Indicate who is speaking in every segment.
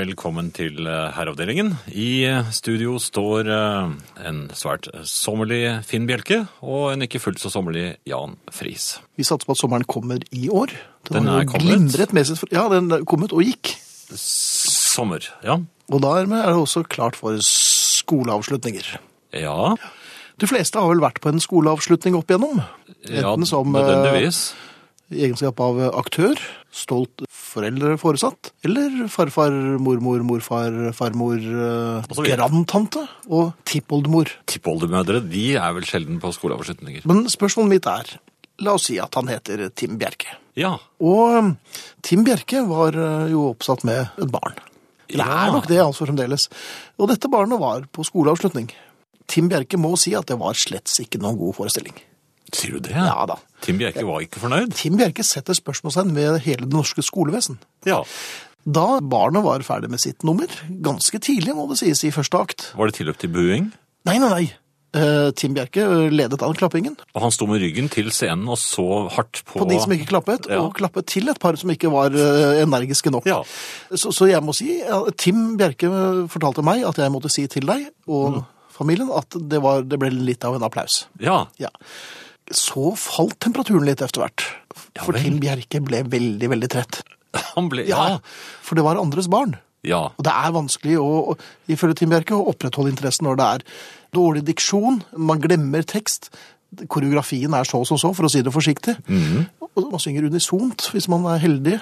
Speaker 1: Velkommen til eh, Herreavdelingen. I eh, studio står eh, en svært sommerlig Finn Bjelke og en ikke fullt så sommerlig Jan Friis.
Speaker 2: Vi satser på at sommeren kommer i år.
Speaker 1: Den
Speaker 2: har
Speaker 1: er
Speaker 2: jo
Speaker 1: kommet.
Speaker 2: Glimret med sitt, ja, den er kommet og gikk.
Speaker 1: Sommer, ja.
Speaker 2: Og dermed er det også klart for skoleavslutninger.
Speaker 1: Ja,
Speaker 2: De fleste har vel vært på en skoleavslutning opp igjennom.
Speaker 1: ja
Speaker 2: Enten som eh,
Speaker 1: nødvendigvis.
Speaker 2: i egenskap av eh, aktør, stolt foreldre-foresatt, eller farfar, mormor, morfar, farmor, eh,
Speaker 1: Og så videre.
Speaker 2: grandtante og tippoldemor.
Speaker 1: Tippoldemødre de er vel sjelden på skoleavslutninger.
Speaker 2: Men spørsmålet mitt er, la oss si at han heter Tim Bjerke.
Speaker 1: Ja,
Speaker 2: Og um, Tim Bjerke var uh, jo oppsatt med et barn. Det
Speaker 1: Ja.
Speaker 2: er nok det, altså, fremdeles. Og dette barnet var på skoleavslutning. Tim Bjerke må si at det var slett ikke noen god forestilling.
Speaker 1: sier du det?
Speaker 2: Ja da.
Speaker 1: Tim Bjerke var ikke fornøyd?
Speaker 2: Tim Bjerke setter spørsmålstegn ved hele det norske skolevesen.
Speaker 1: Ja.
Speaker 2: Da barnet var ferdig med sitt nummer, ganske tidlig må det sies, i første akt
Speaker 1: Var det tilløp til buing?
Speaker 2: Nei, nei, nei. Eh, Tim Bjerke ledet an klappingen
Speaker 1: Og han sto med ryggen til scenen og så hardt på
Speaker 2: på de som ikke klappet,
Speaker 1: Ja.
Speaker 2: og klappet til et par som ikke var eh, energiske nok.
Speaker 1: Ja.
Speaker 2: Så, så jeg må si, ja, Tim Bjerke fortalte meg at jeg måtte si til deg og
Speaker 1: Mm.
Speaker 2: familien at det, var, det ble litt av en applaus.
Speaker 1: Ja.
Speaker 2: Ja. Så falt temperaturen litt etter hvert, for
Speaker 1: vel.
Speaker 2: Tim Bjerke ble veldig, veldig trett.
Speaker 1: Han ble Ja.
Speaker 2: For det var andres barn.
Speaker 1: ja.
Speaker 2: Og det er vanskelig, å, å- ifølge Tim Bjerke, å opprettholde interessen når det er dårlig diksjon, man glemmer tekst, koreografien er så som så, for å si det forsiktig.
Speaker 1: Mhm.
Speaker 2: Og man synger unisont, hvis man er heldig.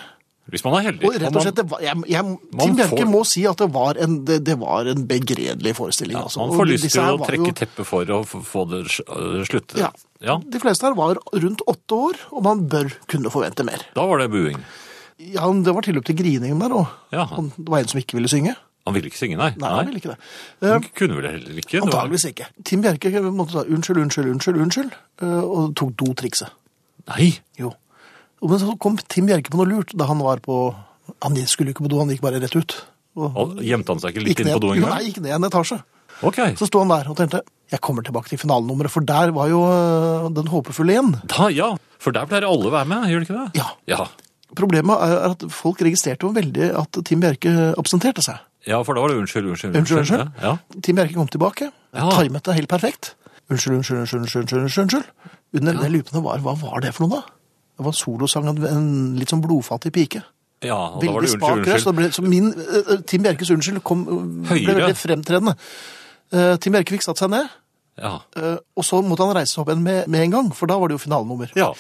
Speaker 1: Hvis man er heldig.
Speaker 2: Og rett og slett, det var, jeg, jeg, Tim Bjerke
Speaker 1: får-
Speaker 2: må si at det var en, det, det var en begredelig forestilling.
Speaker 1: Ja,
Speaker 2: altså.
Speaker 1: man
Speaker 2: Og
Speaker 1: får lyst
Speaker 2: disse
Speaker 1: til
Speaker 2: her
Speaker 1: å
Speaker 2: var
Speaker 1: trekke
Speaker 2: jo-
Speaker 1: teppet for å f- få det sl- øh, slutte.
Speaker 2: Ja. De fleste her var rundt åtte år, og man bør kunne forvente mer.
Speaker 1: Da var det buing.
Speaker 2: Ja, men det var tilløp til grining der, og
Speaker 1: Ja.
Speaker 2: han, det var en som ikke ville synge.
Speaker 1: Han ville ikke synge, nei.
Speaker 2: Nei, han ville ikke det. Eh,
Speaker 1: Han kunne vel heller ikke. det var-
Speaker 2: Antageligvis ikke. Tim Bjerke måtte ta unnskyld, unnskyld, unnskyld, unnskyld, eh, og tok do-trikset.
Speaker 1: Nei.
Speaker 2: Jo. Og Men så kom Tim Bjerke på noe lurt da han var på Han skulle jo ikke på do, han gikk bare rett ut. Og
Speaker 1: Og Gjemte han seg ikke
Speaker 2: gikk
Speaker 1: litt inn på
Speaker 2: ned,
Speaker 1: do
Speaker 2: jo, nei,
Speaker 1: engang?
Speaker 2: gikk ned en etasje.
Speaker 1: Ok.
Speaker 2: Så sto han der og tenkte jeg kommer tilbake til finalenummeret, for der var jo eh, den håpefulle igjen.
Speaker 1: Da, ja. For der pleier alle å være med, gjør det ikke det?
Speaker 2: Ja.
Speaker 1: Ja.
Speaker 2: Problemet er er at folk registrerte jo veldig at Tim Bjerke absenterte seg.
Speaker 1: Ja, for da var det unnskyld, unnskyld,
Speaker 2: Unnskyld, unnskyld.
Speaker 1: Ja.
Speaker 2: Tim Bjerke kom tilbake,
Speaker 1: Ja.
Speaker 2: timet det helt perfekt. Unnskyld, unnskyld, unnskyld, unnskyld, unnskyld, unnskyld, unnskyld. Under det lupene var, hva var det for noe da? Det var en solosang av en litt sånn blodfattig pike.
Speaker 1: ja, og da var
Speaker 2: Veldig
Speaker 1: det
Speaker 2: spak
Speaker 1: unnskyld,
Speaker 2: røst. og
Speaker 1: unnskyld.
Speaker 2: det ble- Så min, eh, eh, Tim Bjerkes unnskyld kom, eh, ble
Speaker 1: Høyere.
Speaker 2: veldig fremtredende. Eh, Tim Bjerke fikk satt seg ned,
Speaker 1: Ja.
Speaker 2: eh, og så måtte han reise seg opp igjen med, med en gang, for da var det jo finalenummer.
Speaker 1: ja.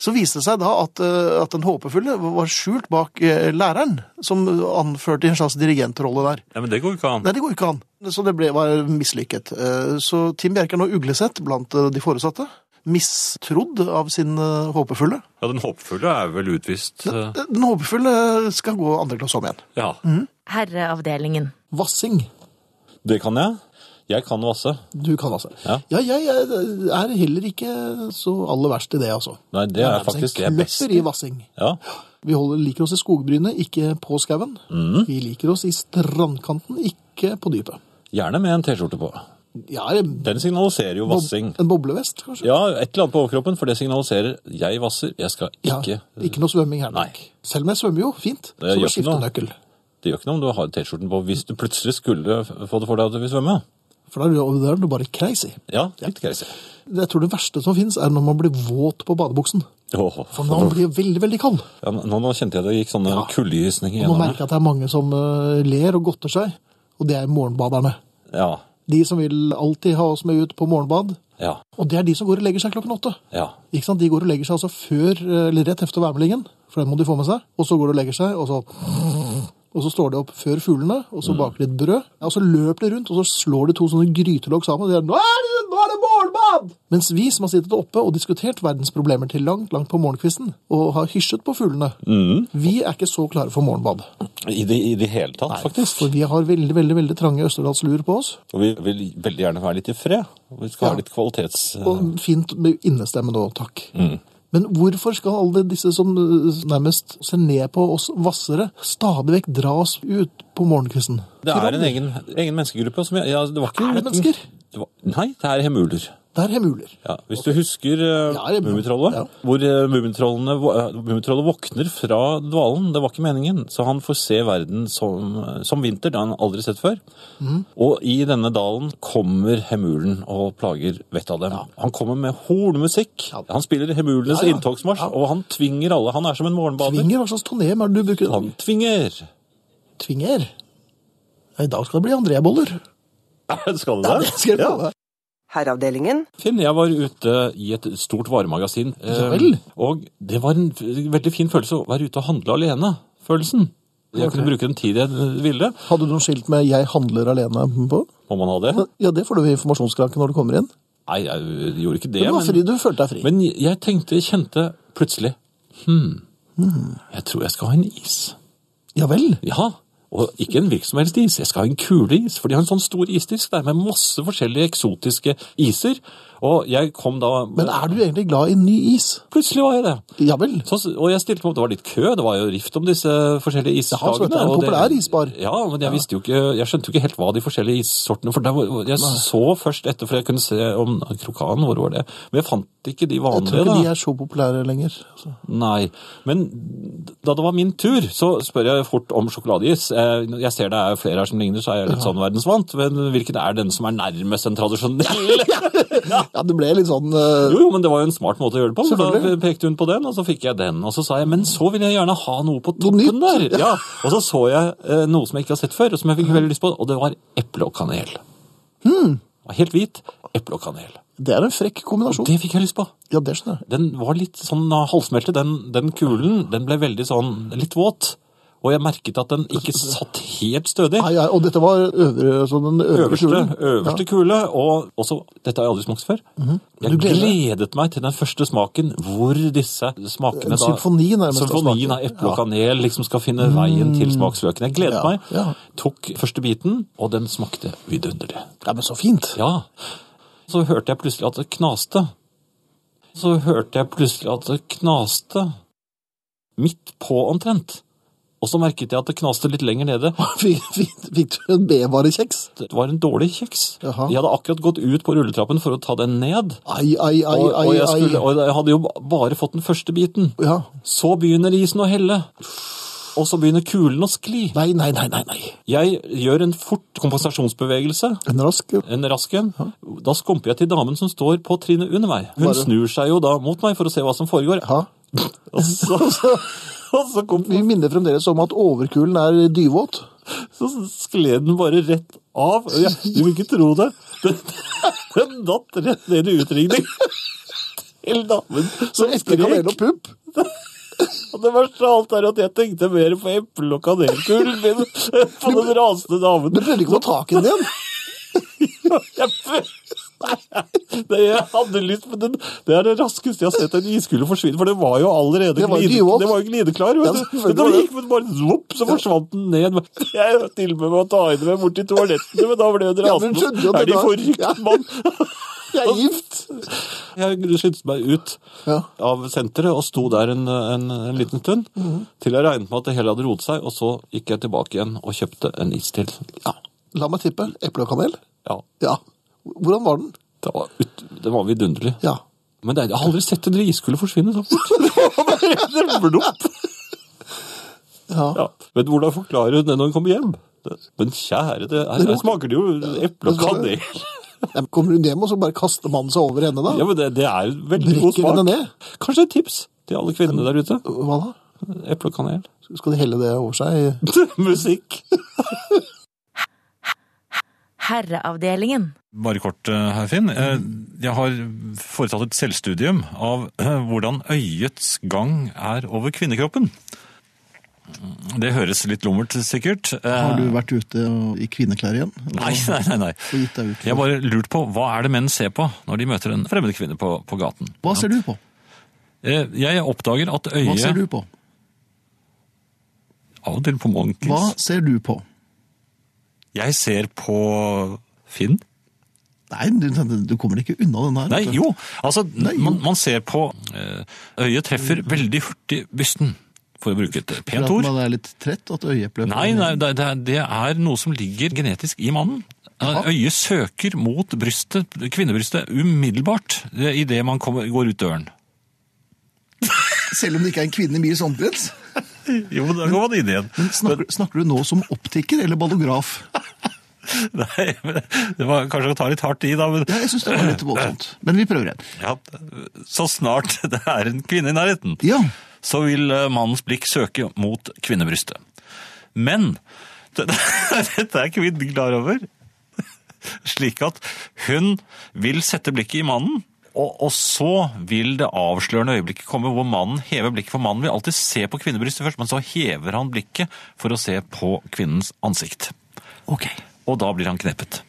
Speaker 2: Så viste det seg da at, eh, at den håpefulle var skjult bak eh, læreren, som anførte en slags dirigentrolle der.
Speaker 1: Ja, men det går jo ikke an.
Speaker 2: Nei, det går ikke an. Så det ble, var mislykket. Eh, Så Tim Bjerke er nå uglesett blant eh, de foresatte. Mistrodd av sin eh, håpefulle.
Speaker 1: Ja, den håpefulle er vel utvist. eh,
Speaker 2: Eh, Den håpefulle skal gå andre klasse om igjen.
Speaker 1: Ja.
Speaker 2: Mm.
Speaker 3: Herreavdelingen.
Speaker 2: Vassing.
Speaker 1: Det kan jeg. Jeg kan vasse.
Speaker 2: Du kan altså.
Speaker 1: Ja.
Speaker 2: jeg eh, er heller ikke så aller verst i det, altså.
Speaker 1: Nei, det er
Speaker 2: Jeg nærmest en
Speaker 1: faktisk det jeg er best
Speaker 2: kløpper i vassing.
Speaker 1: Ja.
Speaker 2: Vi holder, liker oss i skogbrynet, ikke på skauen.
Speaker 1: Mhm.
Speaker 2: Vi liker oss i strandkanten, ikke på dypet.
Speaker 1: Gjerne med en T-skjorte på.
Speaker 2: Ja, en
Speaker 1: Den signaliserer jo
Speaker 2: bob-
Speaker 1: vassing.
Speaker 2: En boblevest, kanskje?
Speaker 1: Ja, et eller annet på overkroppen, for det signaliserer 'jeg vasser, jeg skal ikke'.
Speaker 2: ikke noe svømming her nok.
Speaker 1: Nei.
Speaker 2: Selv om jeg svømmer jo fint,
Speaker 1: Det gjør
Speaker 2: så må
Speaker 1: ikke
Speaker 2: jeg skifte
Speaker 1: noe.
Speaker 2: nøkkel.
Speaker 1: Det gjør ikke noe om du har T-skjorten på hvis du plutselig skulle f- få det for deg at du vil svømme.
Speaker 2: For da er du- da er du bare crazy.
Speaker 1: Ja, litt crazy.
Speaker 2: Jeg tror det verste som finnes er når man blir våt på badebuksen.
Speaker 1: Åh,
Speaker 2: For man blir veldig, veldig kald.
Speaker 1: ja, nå, nå kjente jeg det gikk sånne
Speaker 2: Ja.
Speaker 1: kuldegysninger
Speaker 2: Og nå
Speaker 1: gjennom
Speaker 2: merker jeg
Speaker 1: her.
Speaker 2: at det er mange som eh, ler og godter seg, og det er morgenbaderne.
Speaker 1: Ja,
Speaker 2: De som vil alltid ha oss med ut på morgenbad,
Speaker 1: ja,
Speaker 2: og det er de som går og legger seg klokken åtte.
Speaker 1: ja.
Speaker 2: Ikke sant? De går og legger seg altså før, eh, eller rett efter værmeldingen, for den må de få med seg. Og så går de og legger seg, og så, og så står de opp før fuglene, og så baker de et brød. Ja, og så løper de rundt, og så slår de to sånne grytelokk sammen, og de er, nå er det, nå er det morgenbad! Mens vi som har sittet oppe og diskutert verdensproblemer til langt, langt på morgenkvisten, og har hysjet på fuglene, vi er ikke så klare for morgenbad.
Speaker 1: I det, i det hele tatt, faktisk.
Speaker 2: For vi har veldig, veldig, veldig trange Østerdalsluer på oss,
Speaker 1: Og vi vil veldig gjerne være litt i fred. Og Vi skal
Speaker 2: Ja. Mm.
Speaker 1: ha litt kvalitets...
Speaker 2: Og fint med innestemme nå, takk. Men hvorfor skal alle disse som eh, nærmest ser ned på oss vassere, stadig vekk dra oss ut på morgenkvisten?
Speaker 1: Det er en egen, egen menneskegruppe som jeg, ja, det var ikke
Speaker 2: Er det mennesker?
Speaker 1: Det var, nei, det er hemuler.
Speaker 2: Der har jeg muler.
Speaker 1: Ja, hvis du husker uh,
Speaker 2: Ja, det-
Speaker 1: Mummitrollet,
Speaker 2: ja.
Speaker 1: hvor uh, Mummitrollene vå- eh, Mummitrollet våkner fra dvalen. Det var ikke meningen. Så han får se verden som, eh, som vinter. Det har han aldri sett før.
Speaker 2: Mhm.
Speaker 1: Og i denne dalen kommer Hemulen og plager vettet av dem. Han kommer med hornmusikk.
Speaker 2: Ja.
Speaker 1: Han spiller Hemulenes
Speaker 2: Ja, ja.
Speaker 1: inntogsmarsj,
Speaker 2: Ja.
Speaker 1: og han tvinger alle. Han er som en morgenbader.
Speaker 2: Tvinger, hva slags tonem er det du bruker?
Speaker 1: Han tvinger!
Speaker 2: Tvinger? Ja, I dag skal det bli André-boller.
Speaker 1: Skal du
Speaker 2: Ja, det skal jeg
Speaker 1: Ja.
Speaker 2: love.
Speaker 4: Herreavdelingen.
Speaker 1: Finn, jeg var ute i et stort varemagasin. eh,
Speaker 2: Ja vel.
Speaker 1: og det var en f- veldig fin følelse å være ute og handle alene-følelsen. Jeg kunne bruke den tid jeg ville.
Speaker 2: Hadde du noen skilt med 'Jeg handler alene' på?
Speaker 1: Må man ha det?
Speaker 2: Ja, det får du ved informasjonskranken når du kommer inn.
Speaker 1: Nei, jeg gjorde ikke det.
Speaker 2: Men, du var fri, du følte deg fri.
Speaker 1: men jeg tenkte, kjente plutselig Hm, jeg tror jeg skal ha en is.
Speaker 2: ja vel.
Speaker 1: Ja, og ikke en hvilken som helst is. Jeg skal ha en kuleis, for de har en sånn stor isdisk der med masse forskjellige eksotiske iser. Og jeg kom da
Speaker 2: Men er du egentlig glad i ny is?
Speaker 1: Plutselig var jeg det.
Speaker 2: Ja vel.
Speaker 1: Så, Sånn og jeg stilte meg opp, det var litt kø, det var jo rift om disse forskjellige
Speaker 2: Ja, så
Speaker 1: isslagene.
Speaker 2: dette er en
Speaker 1: og det-
Speaker 2: populær isbar.
Speaker 1: Ja, men jeg visste jo ikke, jeg skjønte jo ikke helt hva de forskjellige issortene, for der, var- jeg så først etter, for jeg kunne se om krokan, hvor var det? Men jeg fant ikke de
Speaker 2: Jeg tror
Speaker 1: vanlige
Speaker 2: ikke de
Speaker 1: da.
Speaker 2: er så populære lenger. altså.
Speaker 1: Nei, men da det var min tur, så spør jeg fort om sjokoladeis. Eh, Jeg ser det er flere her som ligner, så er jeg litt sånn verdensvant, men hvilken er den som er nærmest en tradisjonell?
Speaker 2: Ja, det ble litt sånn eh,
Speaker 1: Jo, jo, men det var jo en smart måte å gjøre det på. for Da
Speaker 2: Selvfølgelig.
Speaker 1: pekte hun på den, og så fikk jeg den. Og så sa jeg men så vil jeg gjerne ha noe på
Speaker 2: Noe
Speaker 1: toppen der.
Speaker 2: nytt.
Speaker 1: Ja, Og så så jeg eh, noe som jeg ikke har sett før, og som jeg fikk veldig lyst på, og det var eple og kanel.
Speaker 2: Hmm.
Speaker 1: Og Helt hvit. Eple og kanel.
Speaker 2: Det er en frekk kombinasjon.
Speaker 1: Det fikk jeg lyst på.
Speaker 2: Ja, det skjønner jeg.
Speaker 1: Den var litt sånn eh, halvsmeltet. Den, den kulen den ble veldig sånn litt våt. Og jeg merket at den ikke satt helt stødig.
Speaker 2: Ai, ai, og dette var øvre, sånn den øvre
Speaker 1: Øverste,
Speaker 2: kjolen.
Speaker 1: øverste kule, og også, dette har jeg aldri smakt før, jeg
Speaker 2: Mhm. Du gleder deg.
Speaker 1: gledet meg til den første smaken, hvor disse smakene
Speaker 2: En symfoni nærmest
Speaker 1: altså.
Speaker 2: altså. av
Speaker 1: Symfonien
Speaker 2: smaker.
Speaker 1: av eple og kanel liksom skal finne veien til smaksløkene. Jeg gledet
Speaker 2: Mm. Ja,
Speaker 1: meg,
Speaker 2: ja.
Speaker 1: tok første biten, og den smakte vidunderlig.
Speaker 2: Ja. ja, men så fint.
Speaker 1: Ja, så hørte jeg plutselig at det knaste. Så hørte jeg plutselig at det knaste, midt på omtrent. Og så merket jeg at det knaste litt lenger nede,
Speaker 2: Fikk, fikk, fikk du en bevarekjeks?
Speaker 1: det var en dårlig kjeks.
Speaker 2: Jaha.
Speaker 1: Jeg hadde akkurat gått ut på rulletrappen for å ta den ned.
Speaker 2: Ai, ai, ai,
Speaker 1: Og,
Speaker 2: ai.
Speaker 1: og, jeg skulle,
Speaker 2: ai.
Speaker 1: og jeg hadde jo bare fått den første biten.
Speaker 2: Ja.
Speaker 1: Så begynner isen å helle. Og så begynner kulen å skli.
Speaker 2: Nei, nei, nei, nei, nei.
Speaker 1: Jeg gjør en fort kompensasjonsbevegelse.
Speaker 2: En rask
Speaker 1: En rask en. Da skumper jeg til damen som står på trinnet under meg. Hun
Speaker 2: Bare-
Speaker 1: snur seg jo da mot meg for å se hva som foregår.
Speaker 2: Ja.
Speaker 1: Og så, og så, kom,
Speaker 2: Vi minner fremdeles om at overkulen er dyvåt.
Speaker 1: så skled den bare rett av. Jeg, du vil ikke tro det. Den, den datt rett ned i utringning. Til damen
Speaker 2: Så
Speaker 1: som
Speaker 2: eple, kanel og pupp.
Speaker 1: Og det verste av alt er at jeg tenkte mer på eple- og kanelkulen min enn på den rasende damen.
Speaker 2: Du prøvde ikke å få tak i den igjen.
Speaker 1: Jeg prøv- Nei, jeg hadde lyst, men den, det er det raskeste jeg har sett en iskule forsvinne, for det var jo allerede
Speaker 2: Det var
Speaker 1: glide-
Speaker 2: dyvåt.
Speaker 1: det var jo glideklar. Vet
Speaker 2: Ja,
Speaker 1: du.
Speaker 2: selvfølgelig
Speaker 1: Men da
Speaker 2: var det.
Speaker 1: gikk den bare svopp, så forsvant den ned. Jeg tilbød meg å ta henne med bort til toalettene, men da ble hun
Speaker 2: Ja, men
Speaker 1: rasende.
Speaker 2: skjønner jo at
Speaker 1: er de
Speaker 2: det da-
Speaker 1: forrykt, mann?
Speaker 2: Jeg er gift.
Speaker 1: Jeg skyndte meg ut
Speaker 2: Ja.
Speaker 1: av senteret og sto der en, en, en liten stund,
Speaker 2: Mhm.
Speaker 1: til jeg regnet med at det hele hadde roet seg, og så gikk jeg tilbake igjen og kjøpte en is til. Ja.
Speaker 2: La meg tippe. Eple og kanel?
Speaker 1: ja.
Speaker 2: Ja. Hvordan var den?
Speaker 1: Det var, ut, det var vidunderlig.
Speaker 2: Ja.
Speaker 1: Men det, er- jeg har aldri sett en iskule forsvinne så fort. Det var bare en blump.
Speaker 2: ja.
Speaker 1: Ja. Men hvordan forklarer hun det når hun kommer hjem? Det- Men kjære, det, her, her smaker det jo eple og
Speaker 2: Det smaker-
Speaker 1: kanel.
Speaker 2: Ja, men Kommer hun hjem, og så bare kaster mannen seg over henne da?
Speaker 1: Ja, men det, det er en veldig god
Speaker 2: Brekker hun det
Speaker 1: smak.
Speaker 2: ned?
Speaker 1: Kanskje et tips til alle kvinnene der ute.
Speaker 2: Hva da?
Speaker 1: Eple og kanel.
Speaker 2: Skal de helle det over seg?
Speaker 1: Musikk.
Speaker 3: Herreavdelingen.
Speaker 1: Bare kort, eh, herr Finn. Eh, Jeg har foretatt et selvstudium av eh, hvordan øyets gang er over kvinnekroppen. Det høres litt lummert, sikkert. Eh,
Speaker 5: Har du vært ute og- i kvinneklær igjen? Eller
Speaker 1: Nei, nei, nei. nei.
Speaker 5: Og gitt deg ut?
Speaker 1: Jeg har bare lurt på, hva er det menn ser på når de møter en fremmed kvinne på, på gaten?
Speaker 5: Hva ser du på?
Speaker 1: Eh, Jeg oppdager at øyet
Speaker 5: Hva ser du på?
Speaker 1: Av og til på monkeys.
Speaker 5: Hva ser du på?
Speaker 1: Jeg ser på Finn.
Speaker 5: Nei, du, du kommer ikke unna den her.
Speaker 1: Nei,
Speaker 5: vet du.
Speaker 1: jo. Altså,
Speaker 5: jo.
Speaker 1: Man, man ser på eh, Øyet treffer veldig hurtig bysten, for å bruke et
Speaker 5: For
Speaker 1: pent
Speaker 5: at
Speaker 1: ord.
Speaker 5: man er litt trett, at øyeeplet
Speaker 1: Nei, nei det, det er- det er noe som ligger genetisk i mannen. Eh, Øyet søker mot brystet, kvinnebrystet umiddelbart idet man kommer, går ut døren.
Speaker 2: Selv om det ikke er en kvinne i Mils omkrets.
Speaker 1: Jo, da går man inn igjen.
Speaker 2: Men snakker, snakker du nå som optiker eller ballograf?
Speaker 1: Nei, men det var kanskje å ta litt hardt i, da. Men
Speaker 2: Ja, jeg syns det var litt voldsomt. Men vi prøver igjen.
Speaker 1: ja, så snart det er en kvinne i nærheten,
Speaker 2: Ja.
Speaker 1: så vil eh, mannens blikk søke mot kvinnebrystet. Men det, dette er kvinnen klar over. Slik at hun vil sette blikket i mannen, og, og så vil det avslørende øyeblikket komme hvor mannen hever blikket, for mannen vil alltid se på kvinnebrystet først, men så hever han blikket for å se på kvinnens ansikt.
Speaker 2: Ok.
Speaker 1: Og da blir han knepet.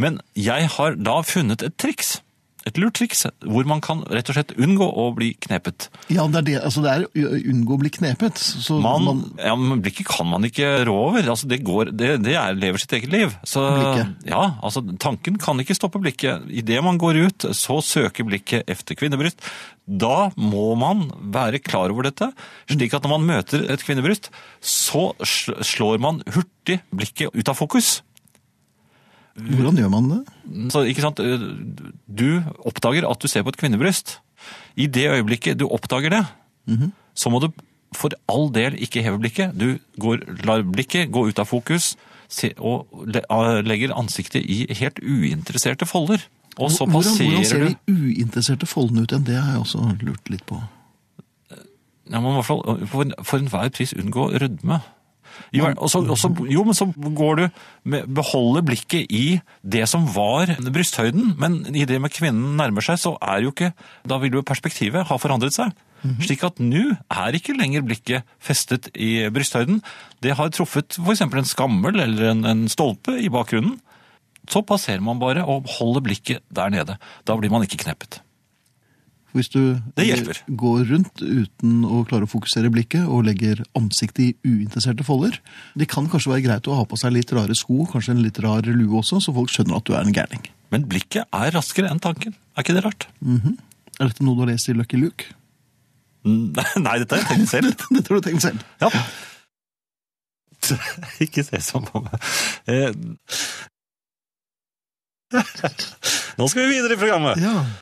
Speaker 1: Men jeg har da funnet et triks. Et lurt triks hvor man kan rett og slett unngå å bli knepet.
Speaker 2: Ja, det er det. Altså, det er å unngå å bli knepet. Så
Speaker 1: Man,
Speaker 2: Altså, man
Speaker 1: ja, men blikket kan man ikke rå over. Altså, det, går, det, det er, lever sitt eget liv. Så,
Speaker 2: Blikket.
Speaker 1: Ja, altså, tanken kan ikke stoppe blikket. Idet man går ut, så søker blikket efter kvinnebryst. Da må man være klar over dette, slik at når man møter et kvinnebryst, så sl- slår man hurtig blikket ut av fokus.
Speaker 2: Hvordan gjør man det?
Speaker 1: Så, ikke sant? Du oppdager at du ser på et kvinnebryst. I det øyeblikket du oppdager det,
Speaker 2: Mhm.
Speaker 1: så må du for all del ikke heve blikket. Du går, lar blikket gå ut av fokus se, og le, a- legger ansiktet i helt uinteresserte folder. Og så
Speaker 2: Hvordan, hvordan ser
Speaker 1: passerer du
Speaker 2: de uinteresserte foldene ut igjen? Det har jeg også lurt litt på.
Speaker 1: ja, man må i hvert fall for, for enhver pris unngå rødme. I hver- og så- og så- jo, men så går du med, beholder blikket i det som var brysthøyden, men i det med kvinnen nærmer seg, så er jo ikke Da vil jo perspektivet ha forandret seg. Slik at nå er ikke lenger blikket festet i brysthøyden. Det har truffet f.eks. en skammel eller en, en stolpe i bakgrunnen. Så passerer man bare og holder blikket der nede. Da blir man ikke kneppet.
Speaker 2: Hvis du
Speaker 1: Det hjelper.
Speaker 2: går rundt uten å klare å fokusere blikket og legger ansiktet i uinteresserte folder Det kan kanskje være greit å ha på seg litt rare sko, kanskje en litt rar lue også, så folk skjønner at du er en gærning.
Speaker 1: Men blikket er raskere enn tanken. Er ikke det rart?
Speaker 2: Mhm. Er dette noe du har lest i Lucky Luke?
Speaker 1: Nei, dette har jeg tenkt selv.
Speaker 2: Dette har du tenkt selv.
Speaker 1: Ja. Ikke se sånn på meg. Eh. Nå skal vi videre i programmet.
Speaker 2: Ja.